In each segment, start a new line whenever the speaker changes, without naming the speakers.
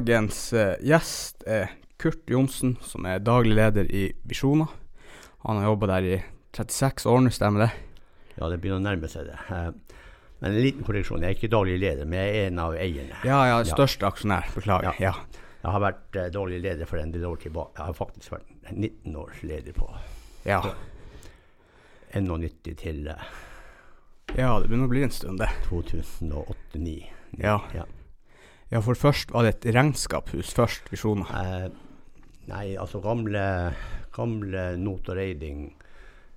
Dagens eh, gjest er Kurt Johnsen, som er daglig leder i Visjoner. Han har jobba der i 36 år nå, stemmer det?
Ja, det begynner å nærme seg det. Eh, Men en liten korreksjon. Jeg er ikke daglig leder, men jeg er en av eierne.
Ja, ja, største aksjonær. Beklager. Ja.
Jeg har vært eh, daglig leder for en del år tilbake. Jeg har faktisk vært 19 år leder på
Ja, ja.
91 til eh,
det begynner å bli en stund, det.
2008-2009.
Ja.
Ja.
ja, for først var det et regnskapshus først, Visjoner.
Eh, Nei, altså gamle, gamle Not og Reiding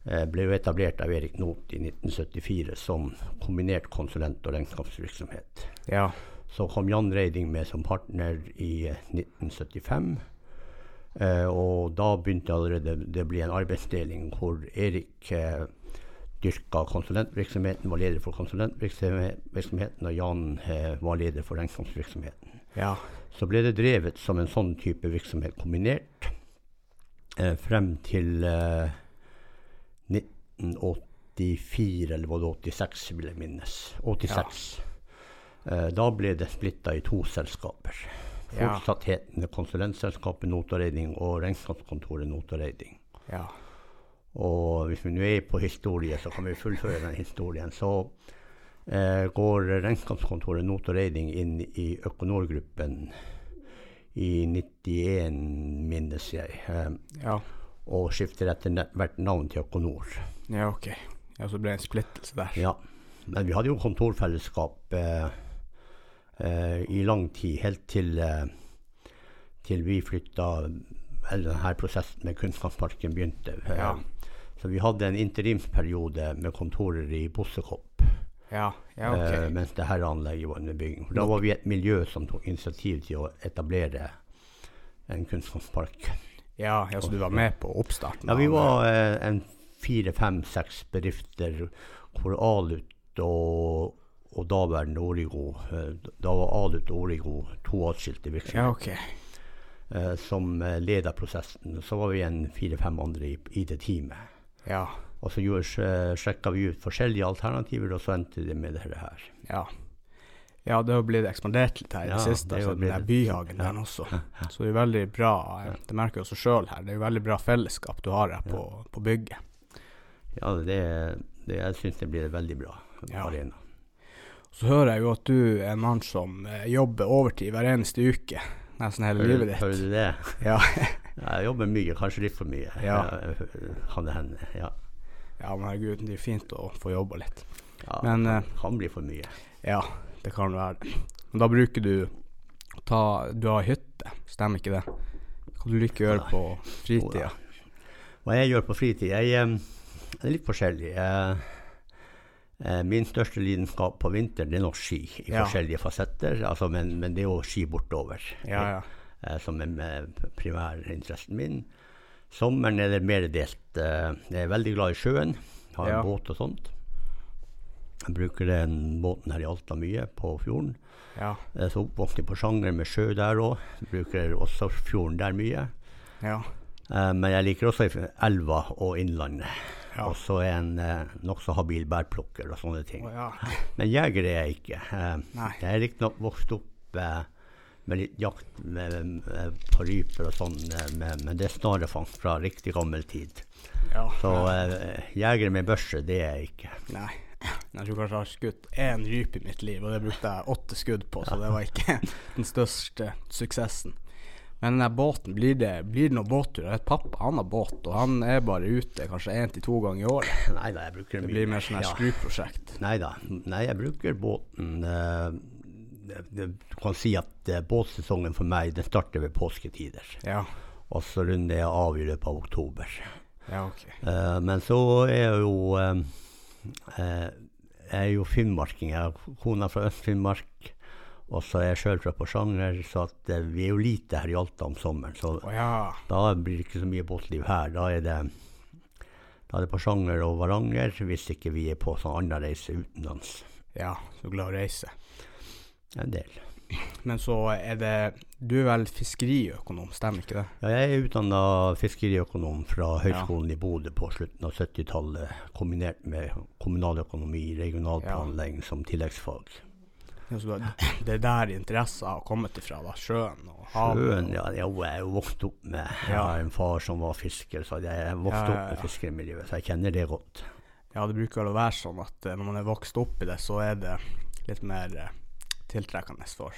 eh, ble jo etablert av Erik Not i 1974 som kombinert konsulent- og regnskapsvirksomhet.
Ja.
Så kom Jan Reiding med som partner i eh, 1975. Eh, og da begynte allerede det å bli en arbeidsdeling hvor Erik eh, dyrka konsulentvirksomheten, var leder for konsulentvirksomheten, og Jan eh, var leder for regnskapsvirksomheten.
Ja.
Så ble det drevet som en sånn type virksomhet kombinert eh, frem til eh, 1984, eller var det 86, vil jeg minnes. 86. Eh, da ble det splitta i to selskaper.
Ja.
Fortsatt hetende konsulentselskapet Notareiding og regnskapskontoret Notareiding.
Ja.
Og hvis vi nå er på historie, så kan vi fullføre den historien. Så eh, går regnskapskontoret Not og Reiding inn i Økonorgruppen i 91, minnes jeg, eh,
Ja.
og skifter etter ne- hvert navn til Økonor.
ja, ok. Ja, så ble det en splittelse der.
Ja. Men vi hadde jo kontorfellesskap eh, eh, i lang tid, helt til, eh, til vi flytta Eller denne prosessen med Kunnskapsparken begynte. Eh,
Ja.
Så vi hadde en interimsperiode med kontorer i Bossekopp.
Ja, ja
eh,
ok.
mens det her anlegget var under bygging. Da var vi et miljø som tok initiativ til å etablere en kunnskapspark.
Ja, ja, så du var med på oppstarten?
Ja, vi
av-
var eh, en fire, fem, seks bedrifter hvor Alut og, og daværende Origo eh, Da var Alut og Origo to atskilte
Ja,
virksomheter
ok.
eh, som eh, leda prosessen. Så var vi en fire-fem andre i, i det teamet.
Ja.
Og så gjorde, sjekka vi ut forskjellige alternativer, og så endte det med dette her.
Ja. Ja, det har blitt ekspandert litt her i det
Ja,
siste,
det
altså,
har
den der
blitt-
byhagen der også. Så det er veldig bra, eh, det merker jeg også sjøl her, det er jo veldig bra fellesskap du har her på, på bygget.
Ja, det, det, jeg syns det blir en veldig bra
Ja.
arena.
Så hører jeg jo at du er en mann som eh, jobber overtid hver eneste uke, nesten hele livet
Hører
ditt.
du det?
Ja.
Jeg jobber mye, kanskje litt for mye.
Ja.
Eh, Kan det hende. Ja.
ja, men herregud, det er fint å få jobba litt.
ja
Men, eh,
kan bli for mye.
Ja, det kan være det. Men da bruker du å ta Du har hytte, stemmer ikke det? Hva du liker å gjøre på fritida?
Hva jeg gjør på fritid? Jeg eh, det er litt forskjellig. Eh, eh, Min største lidenskap på vinteren det er nok ski, i
Ja.
forskjellige fasetter. Altså, men, men det er jo ski bortover,
Ja, ja.
eh, som er med primærinteressen min. Sommeren er det mer delt. eh, Jeg er veldig glad i sjøen, har
Ja.
en båt og sånt. Jeg bruker den båten her i Alta mye, på fjorden.
Ja.
Jeg er så oppvokst i Porsanger med sjø der òg. Bruker også fjorden der mye.
Ja.
Eh, men jeg liker også elva og innlandet.
Ja.
Og så er jeg en eh, nokså habil bærplukker og sånne ting.
Å, ja.
Men jeger er jeg ikke. Eh,
Nei.
jeg er riktignok vokst opp eh, med litt jakt med, med, på ryper og sånn, eh, men- men det er snarefangst fra riktig gammel tid.
Ja.
Så eh, jeger med børse, det er jeg ikke.
Nei.
eh.
Jeg tror kanskje jeg har skutt én rype i mitt liv, og det brukte jeg åtte skudd på, så det var ikke den største suksessen. Men den der båten, blir det, blir det noen båtturer? Jeg vet pappa han har båt, og han er bare ute kanskje én til to ganger i året.
Nei da, jeg bruker
Det blir mer sånn her
Ja.
skruprosjekt.
Nei da. Nei, jeg bruker båten eh, det- det- Du kan si at eh, båtsesongen for meg den starter ved påsketider.
Ja.
Og så runder jeg av i løpet av oktober.
Ja, ok.
Eh, men så er jeg jo eh, eh, Jeg er jo finnmarking. Jeg har kona fra Øst-Finnmark. Og så er jeg sjøl fra Porsanger, så at, eh, vi er jo lite her i Alta om sommeren. Så
Å ja.
da blir det ikke så mye båtliv her. Da er det da er det Porsanger og Varanger, hvis ikke vi er på sånn annen reise utenlands.
Ja, så glad å reise.
En del.
Men så er det Du er vel fiskeriøkonom, stemmer ikke det?
Ja, jeg er utdanna fiskeriøkonom fra Høgskolen i Bodø på slutten av 70-tallet, kombinert med kommunaløkonomi, regional
Ja.
planlegging som tilleggsfag.
Ja, så da- Det er der interessen har kommet ifra, da. Sjøen og
Sjøen,
havet.
ja. Jeg er jo vokst opp med Jeg
Ja.
har en far som var fisker, så jeg er vokst
Ja, ja,
opp med
ja.
fiskermiljøet, så jeg kjenner det godt.
Ja, det bruker vel å være sånn at eh, når man er vokst opp i det, så er det litt mer eh, tiltrekkende for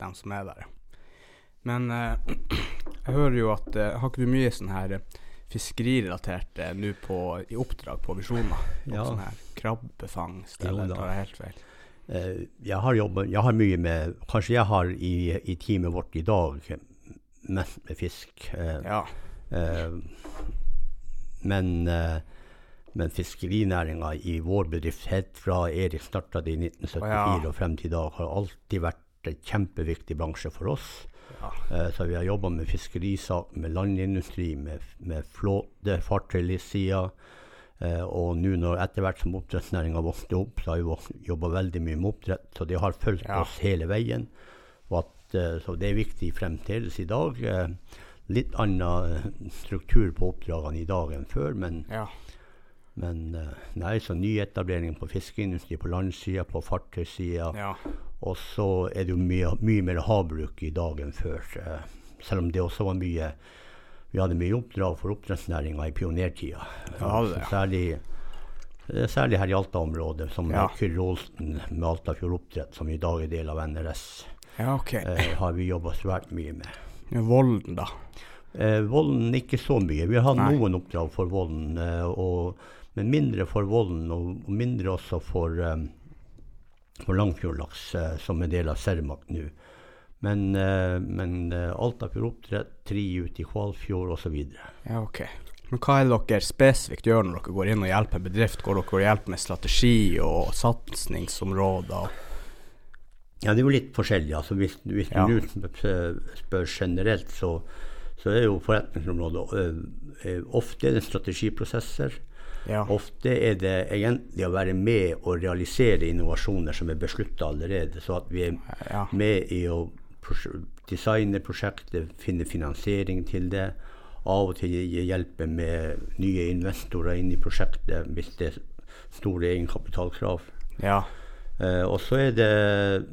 dem som er der. Men eh, jeg hører jo at eh, Har ikke du mye sånn her eh, fiskerirelatert eh, nå på- i oppdrag på Visjoner?
Ja.
Ja. Sånn her krabbefangst,
Jo
eller
da.
tar jeg helt feil?
Eh, Jeg har, jobbet, jeg har mye med Kanskje jeg har i, i teamet vårt i dag eh, mest med fisk. eh,
Ja.
Eh, men eh, men fiskerinæringa i vår bedrift, helt fra Erik starta det i 1974
Å, ja.
og frem til i dag, har alltid vært en kjempeviktig bransje for oss.
Ja.
Eh, så vi har jobba med fiskerisak, med landindustri, med, med flåte, fartøysida. Eh, og nå når etter hvert som oppdrettsnæringa vokste opp, så har vi jobba veldig mye med oppdrett. Så det har fulgt
Ja.
oss hele veien. Og at, eh, så det er viktig fremdeles i dag. Eh, litt annen eh, struktur på oppdragene i dag enn før, men,
ja.
men eh, nei, så nyetablering på fiskeindustri på landsida, på fartøysida.
ja.
Og så er det jo mye, mye mer havbruk i dag enn før. eh, Selv om det også var mye Vi hadde mye oppdrag for oppdrettsnæringa i pionertida.
Ja, det.
Så Særlig, det er særlig her i Alta-området, som
Ja.
ja. Kyrre Olsen med Altafjord Oppdrett, som i dag er del av NRS,
Ja, OK.
eh, har vi jobba svært mye med.
Ja, Volden, da.
Eh, Volden ikke så mye. Vi har
Nei.
noen oppdrag for Volden, eh, og, men mindre for Volden, og, og mindre også for, eh, for Langfjordlaks, eh, som er del av Cermaq nå. Men, eh, men eh, Altafjord oppdrett, tri ut i Kvalfjord osv.
Ja, ok. Men hva er det dere spesifikt gjør når dere går inn og hjelper en bedrift? Går dere og hjelper med strategi og satsingsområder? og-
Ja, det er jo litt forskjellig. Altså, hvis hvis
Ja.
du nå spør- spør generelt, så, så er jo forretningsområdet eh, eh, ofte er det strategiprosesser.
Ja.
Ofte er det egentlig å være med og realisere innovasjoner som er beslutta allerede, så at vi er
Ja.
med i å pros- designe prosjektet, finne finansiering til det. Av og til gi- hjelpe med nye investorer inn i prosjektet hvis det er store egenkapitalkrav.
ja.
Eh, og så er det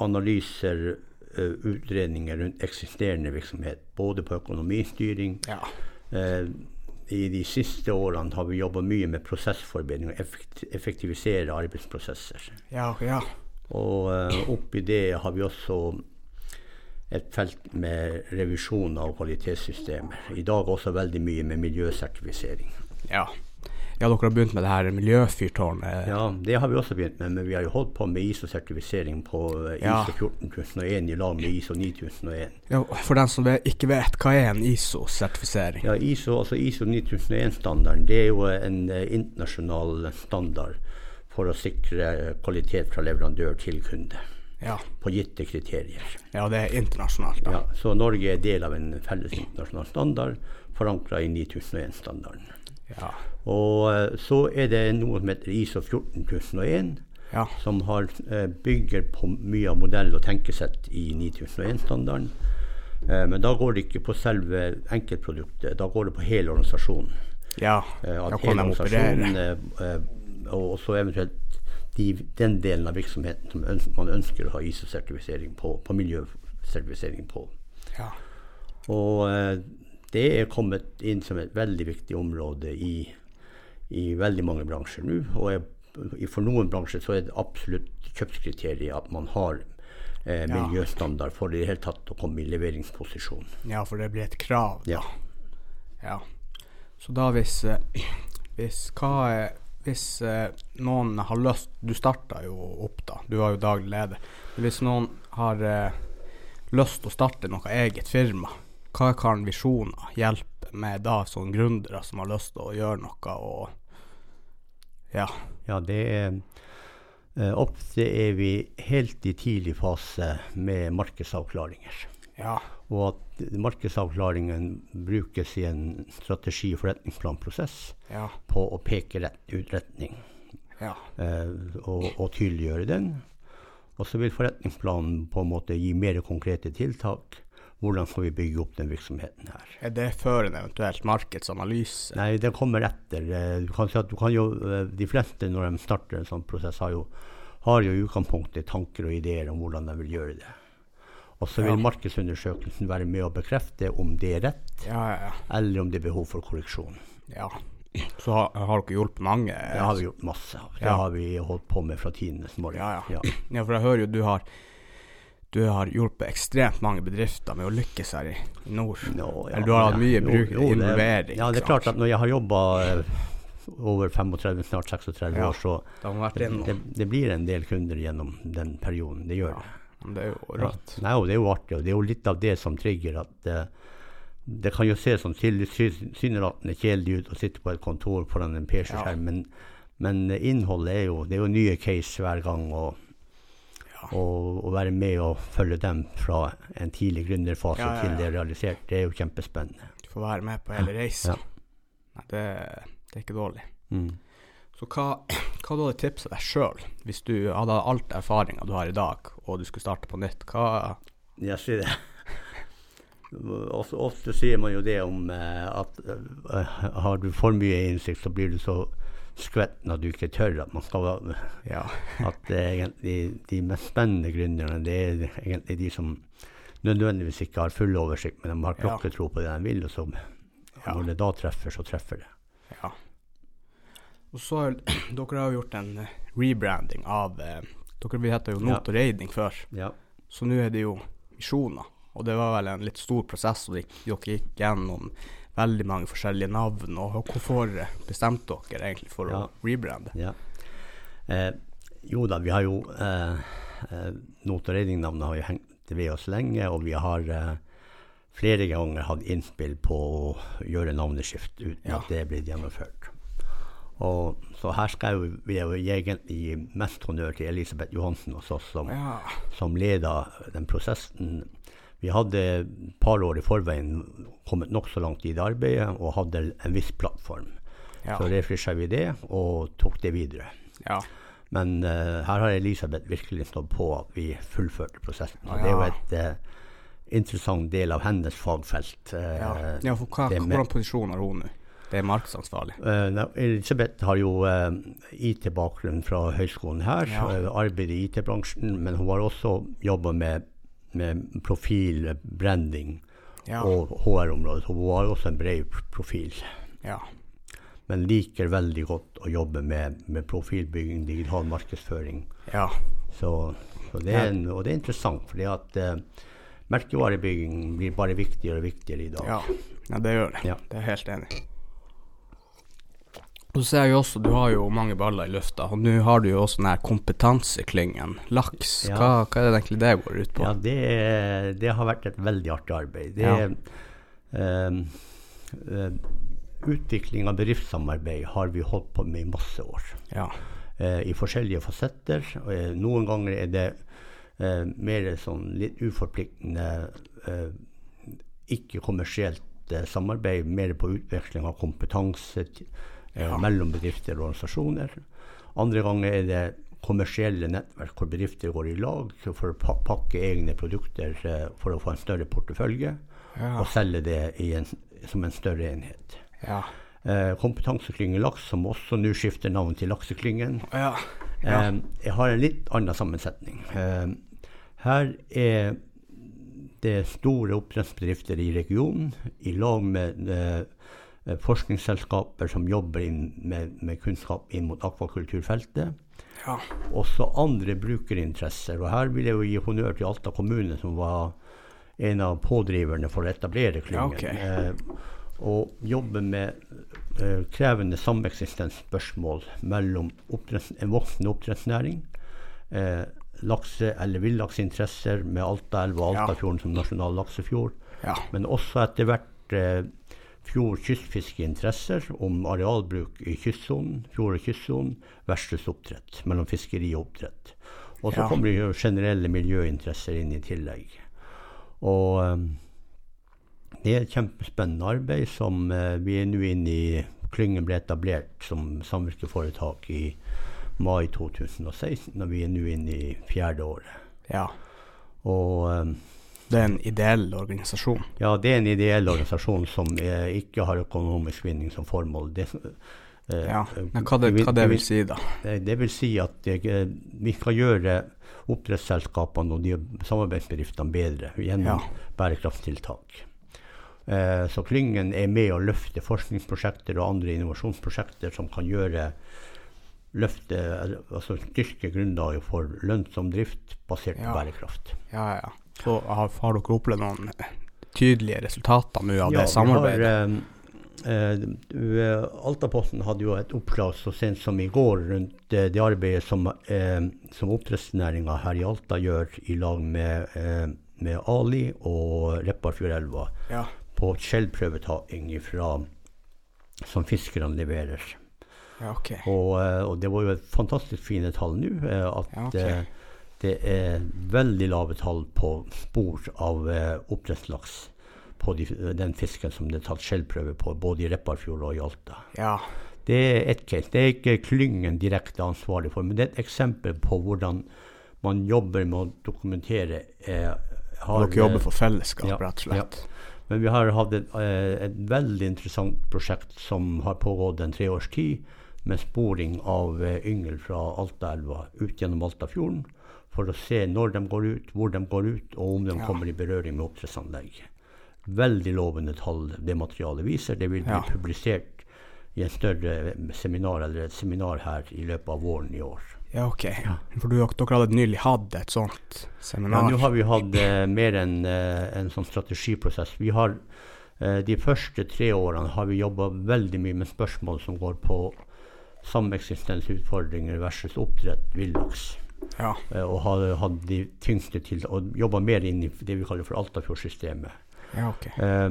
analyser, eh, utredninger rundt eksisterende virksomhet, både på økonomistyring,
Ja.
Eh, I de siste årene har vi jobba mye med prosessforbedring og effekt effektivisere arbeidsprosesser.
Ja, ja.
Og eh, oppi det har vi også et felt med revisjon av kvalitetssystemer. I dag også veldig mye med miljøsertifisering.
ja. Ja, dere har begynt med det her miljøfyrtårnet.
Ja, Det har vi også begynt med, men vi har jo holdt på med ISO-sertifisering på eh,
Ja.
ISO 14001 i lag med ISO 9001.
Ja, for den som ve- ikke vet, hva er en ISO-sertifisering?
Ja, ISO, altså ISO 9001-standarden det er jo en eh, internasjonal standard for å sikre eh, kvalitet fra leverandør til kunde
Ja.
på gitte kriterier.
ja, det er internasjonalt. da.
Ja, så Norge er del av en felles internasjonal standard forankra i 9001-standarden.
Ja.
Og eh, så er det noe som heter ISO 14001,
Ja.
som har, eh, bygger på mye av modell og tenkesett i 9001-standarden. Eh, men da går det ikke på selve enkeltproduktet, da går det på hele organisasjonen.
Ja.
Eh,
ja.
At
Kan
hele
de
organisasjonen
operere?
eh, eh, og så eventuelt de, den delen av virksomheten som øns man ønsker å ha ISO-sertifisering på, på miljøsertifisering på.
Ja.
Og eh, det er kommet inn som et veldig viktig område i, i veldig mange bransjer nå. Og er, i- for noen bransjer så er det absolutt kjøpskriteriet at man har eh,
Ja.
miljøstandard for i det hele tatt å komme i leveringsposisjon.
ja, for det blir et krav.
Ja.
Ja. Så da hvis eh, Hvis hva er Hvis eh, noen har lyst Du starta jo opp, da. Du var jo daglig leder. Men hvis noen har eh, lyst til å starte noe eget firma, hva kan visjoner hjelpe med da, sånne gründere som har lyst til å gjøre noe og Ja.
Ja, det er eh, Ofte er vi helt i tidlig fase med markedsavklaringer.
Ja.
Og at markedsavklaringen brukes i en strategi- og forretningsplanprosess
Ja.
på å peke rett, ut retning
Ja.
eh, og, og tydeliggjøre den. Og så vil forretningsplanen på en måte gi mer konkrete tiltak. Hvordan skal vi bygge opp den virksomheten her?
Er det før en eventuelt markedsanalyse?
Nei, det kommer etter. Eh, Du kan si at du kan jo, eh, de fleste når de starter en sånn prosess, har jo, har jo i utgangspunktet tanker og ideer om hvordan de vil gjøre det. Og så vil
Ja.
markedsundersøkelsen være med å bekrefte om det er rett,
Ja, ja,
eller om det er behov for korreksjon.
ja. ja. Så har, har dere hjulpet mange? eh,
Det har vi gjort masse av. Det
Ja.
har vi holdt på med fra tidenes morgen.
Ja, Ja, for jeg hører jo du har du har hjulpet ekstremt mange bedrifter med å lykkes her i, i nord.
Nå, ja,
Eller du har hatt
ja.
mye
Jo,
bruk
jo, det-
involvering.
Ja, det
sant?
er klart at når jeg har jobba over 35, snart 36
Ja.
år, så
Det har vært
det,
innom.
det, det blir en del kunder gjennom den perioden. Det gjør det.
Men Det er jo rått.
Nei, og det er jo artig, og det er jo litt av det som trigger at eh, det kan jo se sånn til- sy- tilsynelatende kjedelig ut å sitte på et kontor foran en
Ja.
PC-skjerm, men, men eh, innholdet er jo Det er jo nye case hver gang, og, og, å være med og følge dem fra en tidlig gründerfase
Ja, ja, ja.
til det er realisert, det er jo kjempespennende.
Du får være med på hele reisen.
Ja.
Nei, det, det er ikke dårlig. Så hva, hva du hadde tipset deg sjøl, hvis du hadde alt erfaringa du har i dag, og du skulle starte på nytt? Hva
Jeg sier det. Ofte, ofte sier man jo det om eh, at eh, har du for mye innsikt, så blir du så skvetten at du ikke tør. At man skal være-
Ja.
at det er egentlig de mest spennende gründerne, det er egentlig de som nødvendigvis ikke har full oversikt, men de har
Ja.
klokketro på det de vil, og så
Ja.
når det da treffer, så treffer det.
ja. Og så har dere har jo gjort en eh, rebranding av eh, Dere vi heter jo
Ja.
Not og Reiding før.
Ja.
Så nå er det jo misjoner. Og det var vel en litt stor prosess, og dere dere gikk gjennom veldig mange forskjellige navn. Og hvorfor bestemte dere egentlig for
Ja.
å rebrande?
Ja. Eh, jo da, vi har jo eh, eh, Not- og Reiding-navnet har jo hengt ved oss lenge, og vi har eh, flere ganger hatt innspill på å gjøre navneskift uten
Ja.
at det er blitt gjennomført. Og, så her skal jeg jo, vil jeg jo egentlig gi mest honnør til Elisabeth Johansen hos oss, som,
Ja.
som leda den prosessen. Vi hadde et par år i forveien kommet nokså langt i det arbeidet og hadde en viss plattform.
Ja.
Så refresha vi det og tok det videre.
ja.
Men eh, her har Elisabeth virkelig stått på at vi fullførte prosessen. Og
Ja.
det er jo et eh, interessant del av hennes fagfelt. eh,
ja. ja for hva,
det med-
hvordan posisjon har hun nå? Det er markedsansvarlig.
Eh, nei, Elisabeth har jo eh, IT-bakgrunn fra høyskolen her,
Ja.
eh, arbeidet i IT-bransjen, men hun har også jobba med, med profil, branding
Ja.
og HR-området. så Hun har også en bred profil,
ja.
men liker veldig godt å jobbe med, med profilbygging, digital markedsføring.
Ja.
Så, så det er en, og det er interessant, fordi at eh, merkevarebygging blir bare viktigere og viktigere i dag.
ja. ja det gjør det.
Ja.
Det er jeg helt enig i. Og så ser jeg jo også, du har jo mange baller i lufta, og nå har du jo også den her kompetanseklyngen, LAKS.
Ja.
Hva, hva er det egentlig det går ut på?
Ja, det, er- det har vært et veldig artig arbeid. Det er ehm, eh, Utvikling av bedriftssamarbeid har vi holdt på med i masse år.
Ja.
eh, I forskjellige fasetter. og, eh, noen ganger er det eh, mer sånn litt uforpliktende, eh, ikke-kommersielt eh, samarbeid. Mer på utveksling av kompetanse t- eh,
Ja.
mellom bedrifter og organisasjoner. Andre ganger er det kommersielle nettverk hvor bedrifter går i lag for å pa- pakke egne produkter eh, for å få en større portefølje,
Ja.
og selge det i en, som en større enhet.
Ja.
Eh, Kompetanseklyngen Laks, som også nå skifter navn til Lakseklyngen,
ja.
eh, jeg har en litt annen sammensetning. Eh, her er det store oppdrettsbedrifter i regionen i lag med eh, forskningsselskaper som jobber inn med, med kunnskap inn mot akvakulturfeltet.
Ja.
Også andre brukerinteresser. Og her vil jeg jo gi honnør til Alta kommune, som var en av pådriverne for å etablere
Ja,
klyngen.
ok.
eh, og jobbe med eh, krevende sameksistensspørsmål mellom oppdretts- en voksende oppdrettsnæring, eh, lakse- eller villaksinteresser med Altaelva og
Ja.
Altafjorden som nasjonal laksefjord,
Ja.
men også etter hvert eh, fjord- og kystfiskeinteresser om arealbruk i kystsonen, fjord- og kystsonen versus oppdrett, mellom fiskeri og oppdrett. Og så
Ja.
kommer det jo generelle miljøinteresser inn i tillegg. Og eh, det er et kjempespennende arbeid som eh, vi er nå inne i. Klyngen ble etablert som samvirkeforetak i mai 2016, og vi er nå inne i fjerde året.
ja.
Og eh,
Det er en ideell organisasjon.
Ja, det er en ideell organisasjon som eh, ikke har økonomisk vinning som formål. Det, Eh,
Ja, men hva det, hva det vil si, da?
Eh, Det vil si at jeg, eh, vi skal gjøre oppdrettsselskapene og de samarbeidsbedriftene bedre
Ja.
gjennom bærekraftstiltak. Eh, Så klyngen er med å løfte forskningsprosjekter og andre innovasjonsprosjekter som kan gjøre løfte, eh, altså styrke grunnlaget for lønnsom drift basert på
Ja.
bærekraft.
Ja, ja. Så har, har dere opplevd noen eh, tydelige resultater nå av
Ja,
det
vi
samarbeidet?
har, eh, eh, du, eh, Altaposten hadde jo et oppslag så sent som i går rundt eh, det arbeidet som, eh, som oppdrettsnæringa her i Alta gjør i lag med, eh, med Ali og Repparfjordelva
Ja.
på skjellprøvetaking ifra- som fiskerne leverer.
ja, ok.
Og, eh, og det var jo et fantastisk fine tall nå, eh, at
Ja, ok.
eh, det er veldig lave tall på spor av eh, oppdrettslaks på de, den fisken som det er tatt skjellprøve på, både i Repparfjord og i Alta.
Ja,
Det er ett case. Det er ikke klyngen direkte ansvarlig for, men det er et eksempel på hvordan man jobber med å dokumentere eh, har,
dere jobber for fellesskap,
ja,
rett og slett?
men vi har hatt et, eh, et veldig interessant prosjekt som har pågått en tre års tid, med sporing av eh, yngel fra Altaelva ut gjennom Altafjorden. For å se når de går ut, hvor de går ut, og om de
Ja.
kommer i berøring med oppdrettsanlegg. Veldig lovende tall det materialet viser. Det vil bli
Ja.
publisert i en større seminar eller et seminar her i løpet av våren i år.
Ja, ok. For du, dere hadde nylig hatt et sånt
Ja,
seminar?
nå har vi hatt eh, mer enn eh, en sånn strategiprosess. Vi har eh, De første tre årene har vi jobba veldig mye med spørsmål som går på sameksistensutfordringer versus oppdrett villaks.
Ja.
Eh, og har hatt de tyngste til og jobba mer inn i det vi kaller for Altafjordsystemet.
ja, ok.
Eh,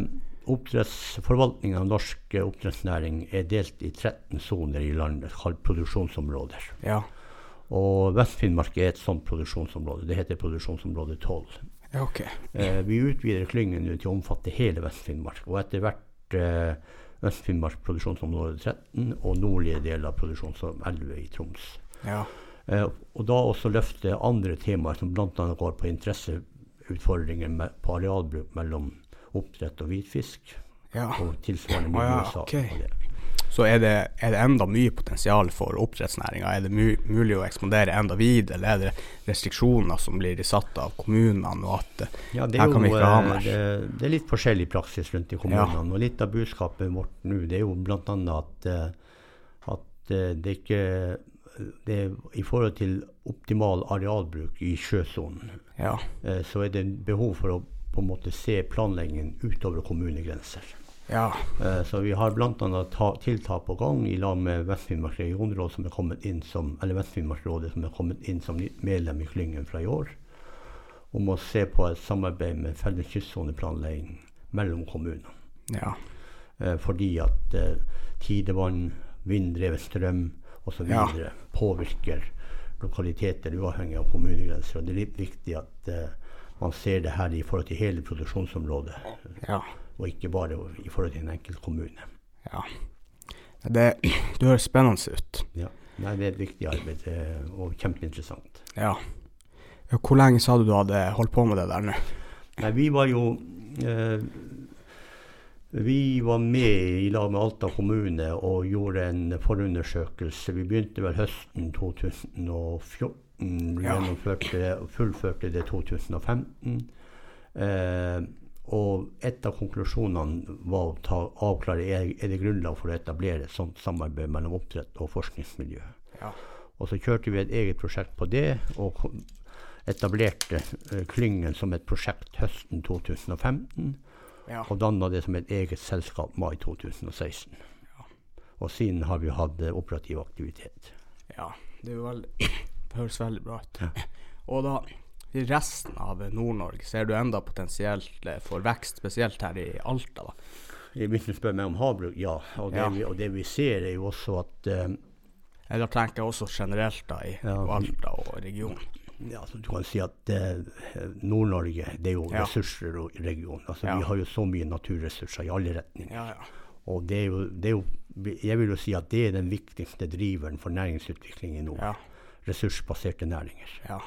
Oppdrettsforvaltningen av norsk eh, oppdrettsnæring er delt i 13 soner i landet, kalt produksjonsområder.
Ja,
Og Vest-Finnmark er et sånt produksjonsområde. Det heter produksjonsområde 12.
ja ok.
Eh, vi utvider klyngen nå til å omfatte hele Vest-Finnmark, og etter hvert eh, Øst-Finnmark produksjonsområde 13 og nordlige deler av produksjonsområde 11 i Troms.
Ja.
Eh, og da også løfte andre temaer som bl.a. går på interesseutfordringer med, på arealbruk mellom oppdrett og hvitfisk,
ja.
og
Å
tilsvarende med
ja,
USA.
ok.
og det.
Så er det, er det enda mye potensial for oppdrettsnæringa? Er det mu mulig å ekspandere enda videre, eller er det restriksjoner som blir satt av kommunene? og at eh,
Ja, det,
Her
er jo,
kan vi ikke ha
eh,
mer.
det, det er litt forskjellig praksis rundt i kommunene. Og litt av budskapet vårt nå det er jo bl.a. at, eh, at eh, det er ikke det er, I forhold til optimal arealbruk i sjøsonen,
Ja,
eh, så er det behov for å på en måte se planleggingen utover kommunegrenser.
ja,
Eh, Så vi har bl.a. ta- tiltak på gang i lag med Vest-Finnmark regionråd, som er kommet inn som, eller Vest-Finnmarksrådet, som er kommet inn som ny- medlem i klyngen fra i år, om å se på et samarbeid med felles kystsoneplanlegging mellom kommunene.
ja.
Eh, Fordi at eh, tidevann, vinddrevet strøm osv.
Ja.
videre påvirker lokaliteter uavhengig av kommunegrenser. Og det er litt viktig at eh, man ser det her i forhold til hele produksjonsområdet,
ja.
og ikke bare i forhold til en enkelt kommune.
Ja. Det, det høres spennende ut.
Ja. Nei, det er et viktig arbeid eh, og kjempeinteressant.
Ja. Hvor lenge sa du du hadde holdt på med det der nå?
Nei, vi var jo eh, Vi var med i lag med Alta kommune og gjorde en forundersøkelse. Vi begynte vel høsten 2014. Vi
Ja.
gjennomførte og fullførte det 2015. Eh, og et av konklusjonene var å ta, avklare er, er det grunnlag for å etablere et sånt samarbeid mellom oppdrett og forskningsmiljø.
Ja.
Og så kjørte vi et eget prosjekt på det, og kom- etablerte eh, klyngen som et prosjekt høsten 2015.
Ja.
Og danna det som et eget selskap mai 2016. Og siden har vi hatt eh, operativ aktivitet.
ja. Det, er jo veldig, det høres veldig bra ut. Og da, i resten av Nord-Norge, ser du enda potensielt eh, for vekst, spesielt her i Alta, da?
Hvis du spør meg om havbruk, ja. Og det,
Ja.
Vi, og det vi ser, er jo også at eh,
Eller tenker jeg også generelt, da, i
Ja.
Alta og regionen.
ja, altså, Du kan si at eh, Nord-Norge det er jo
Ja.
ressurser og region. Altså,
Ja.
Vi har jo så mye naturressurser i alle retninger.
Ja, ja.
Og det er jo, det er jo, jeg vil jo si at det er den viktigste driveren for næringsutvikling i nord.
Ja.
Ressursbaserte næringer.
ja.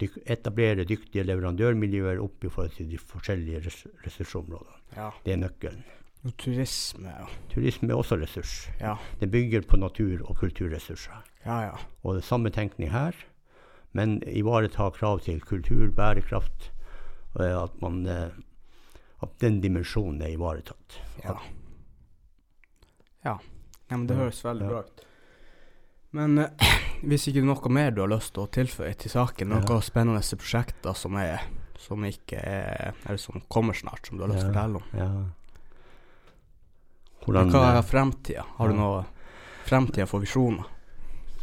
Dyk- Etablere dyktige leverandørmiljøer opp i forhold til de forskjellige ress- ressursområdene.
ja.
Det er nøkkelen.
Og turisme og
Turisme er også ressurs.
Ja.
Det bygger på natur- og kulturressurser.
Ja, ja.
Og det er samme tenkning her, men ivareta krav til kultur, bærekraft, og at, man, eh, at den dimensjonen er ivaretatt.
Ja. ja. ja men det
Ja,
høres veldig
ja.
bra ut. Men eh, hvis ikke det er noe mer du har lyst til å tilføye til saken, noen
Ja.
spennende prosjekter som er som ikke er Eller som kommer snart, som du har lyst til å
Ja.
fortelle om.
Ja. Hvordan,
Hva
eh,
er fremtida? Har du
Ja.
noe fremtida for visjoner?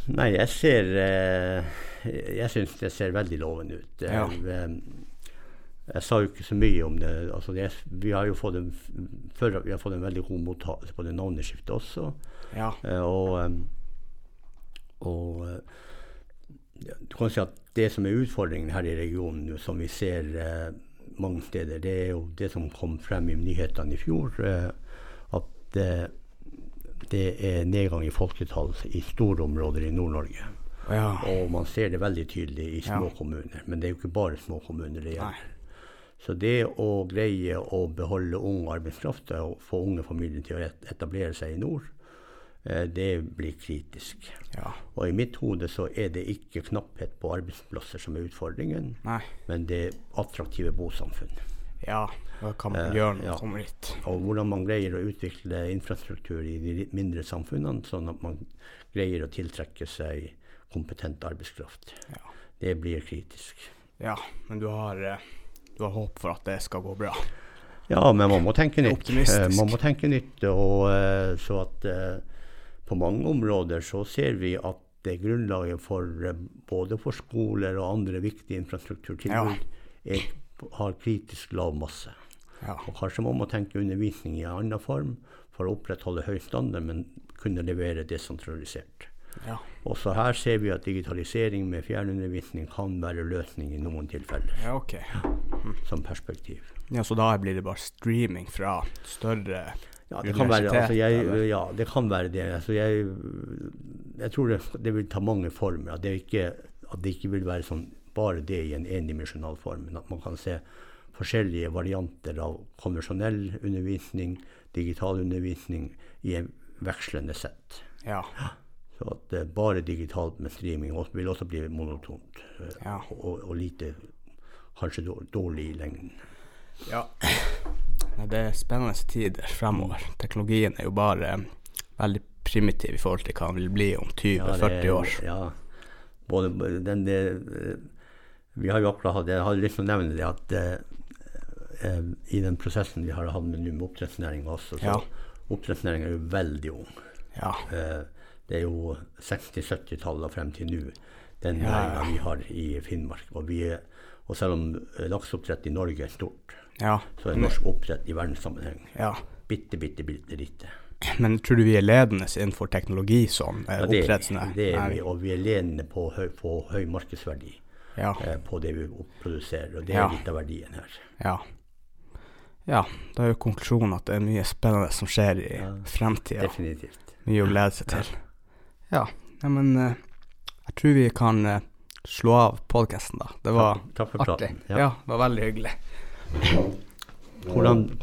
Nei, jeg ser eh, Jeg syns det ser veldig lovende ut. Jeg,
Ja.
eh, jeg sa jo ikke så mye om det. Altså det vi har jo fått en, f- før, vi har fått en veldig god mottakelse på det navneskiftet også.
Ja.
Eh, og eh, og eh, du kan si at det som er utfordringen her i regionen nå, som vi ser eh, mange steder, det er jo det som kom frem i nyhetene i fjor, eh, at eh, det er nedgang i folketall i store områder i Nord-Norge.
ja.
Og man ser det veldig tydelig i små
Ja.
kommuner, men det er jo ikke bare små kommuner
Nei.
det gjelder. Så det å greie å beholde ung arbeidskraft og få unge familier til å et- etablere seg i nord, eh, det blir kritisk.
Ja.
Og i mitt hode så er det ikke knapphet på arbeidsplasser som er utfordringen,
Nei.
men det er attraktive bosamfunn.
Ja. Da kan man
Eh,
gjøre når man
ja.
kommer hit.
Og hvordan man greier å utvikle infrastruktur i de litt mindre samfunnene, sånn at man greier å tiltrekke seg kompetent arbeidskraft.
Ja.
Det blir kritisk.
ja. Men du har, eh, du har håp for at det skal gå bra.
Ja, men man må tenke nytt.
Optimistisk.
Eh, Man må tenke nytt. Og eh, så at eh, på mange områder så ser vi at det grunnlaget for eh, både for skoler og andre viktige infrastrukturtilbud er, har kritisk lav masse.
Ja.
Og kanskje man må tenke undervisning i en annen form for å opprettholde høy standard, men kunne levere desentralisert.
Ja.
Også her ser vi at digitalisering med fjernundervisning kan være løsning i noen tilfeller,
ja, OK.
som perspektiv.
Ja, så da blir det bare streaming fra større
Ja, det kan være,
Universitet,
altså
eller?
jeg, ja, det kan være det. Altså jeg, jeg tror det, det vil ta mange former. At det, ikke, at det ikke vil være sånn bare det i en endimensjonal form. Men at man kan se forskjellige varianter av konvensjonell undervisning, digital undervisning, i en vekslende sett.
Ja.
Så at det er bare digitalt med streaming også, vil også bli monotont. eh,
Ja.
Og, og lite kanskje dår- dårlig i lengden.
ja. Nei, Det er spennende tider fremover. Teknologien er jo bare eh, veldig primitiv i forhold til hva den vil bli om
Ja, det-
20-40 år.
Ja. Både den det, eh, Vi har jo akkurat hatt Jeg hadde lyst til å nevne det at eh, eh, i den prosessen vi har hatt med, nå med oppdrettsnæringa også, så
Ja.
oppdrettsnæringa er jo veldig ung.
Ja.
Eh, det er jo 60-70-tallet og frem til nå, den
Ja, ja.
næringa vi har i Finnmark. Og, vi, er- og selv om eh, lakseoppdrett i Norge er stort,
Ja.
så er norsk oppdrett i verdenssammenheng
ja.
bitte, bitte, bitte lite.
Men tror du vi er ledende innenfor teknologi sånn? eh,
Ja, det,
oppdrettsnæring?
det er vi, og vi er ledende på høy, på høy markedsverdi.
Ja.
eh, på det vi opp- produserer, og det
Ja.
er litt av verdien her.
Ja. ja. Da er jo konklusjonen at det er mye spennende som skjer i
Ja.
fremtida.
Definitivt.
Mye å glede seg til. Ja, ja men eh, jeg tror vi kan eh, slå av podkasten, da. Det var
Takk for
artig.
praten.
Ja. det var veldig hyggelig.
Hvordan,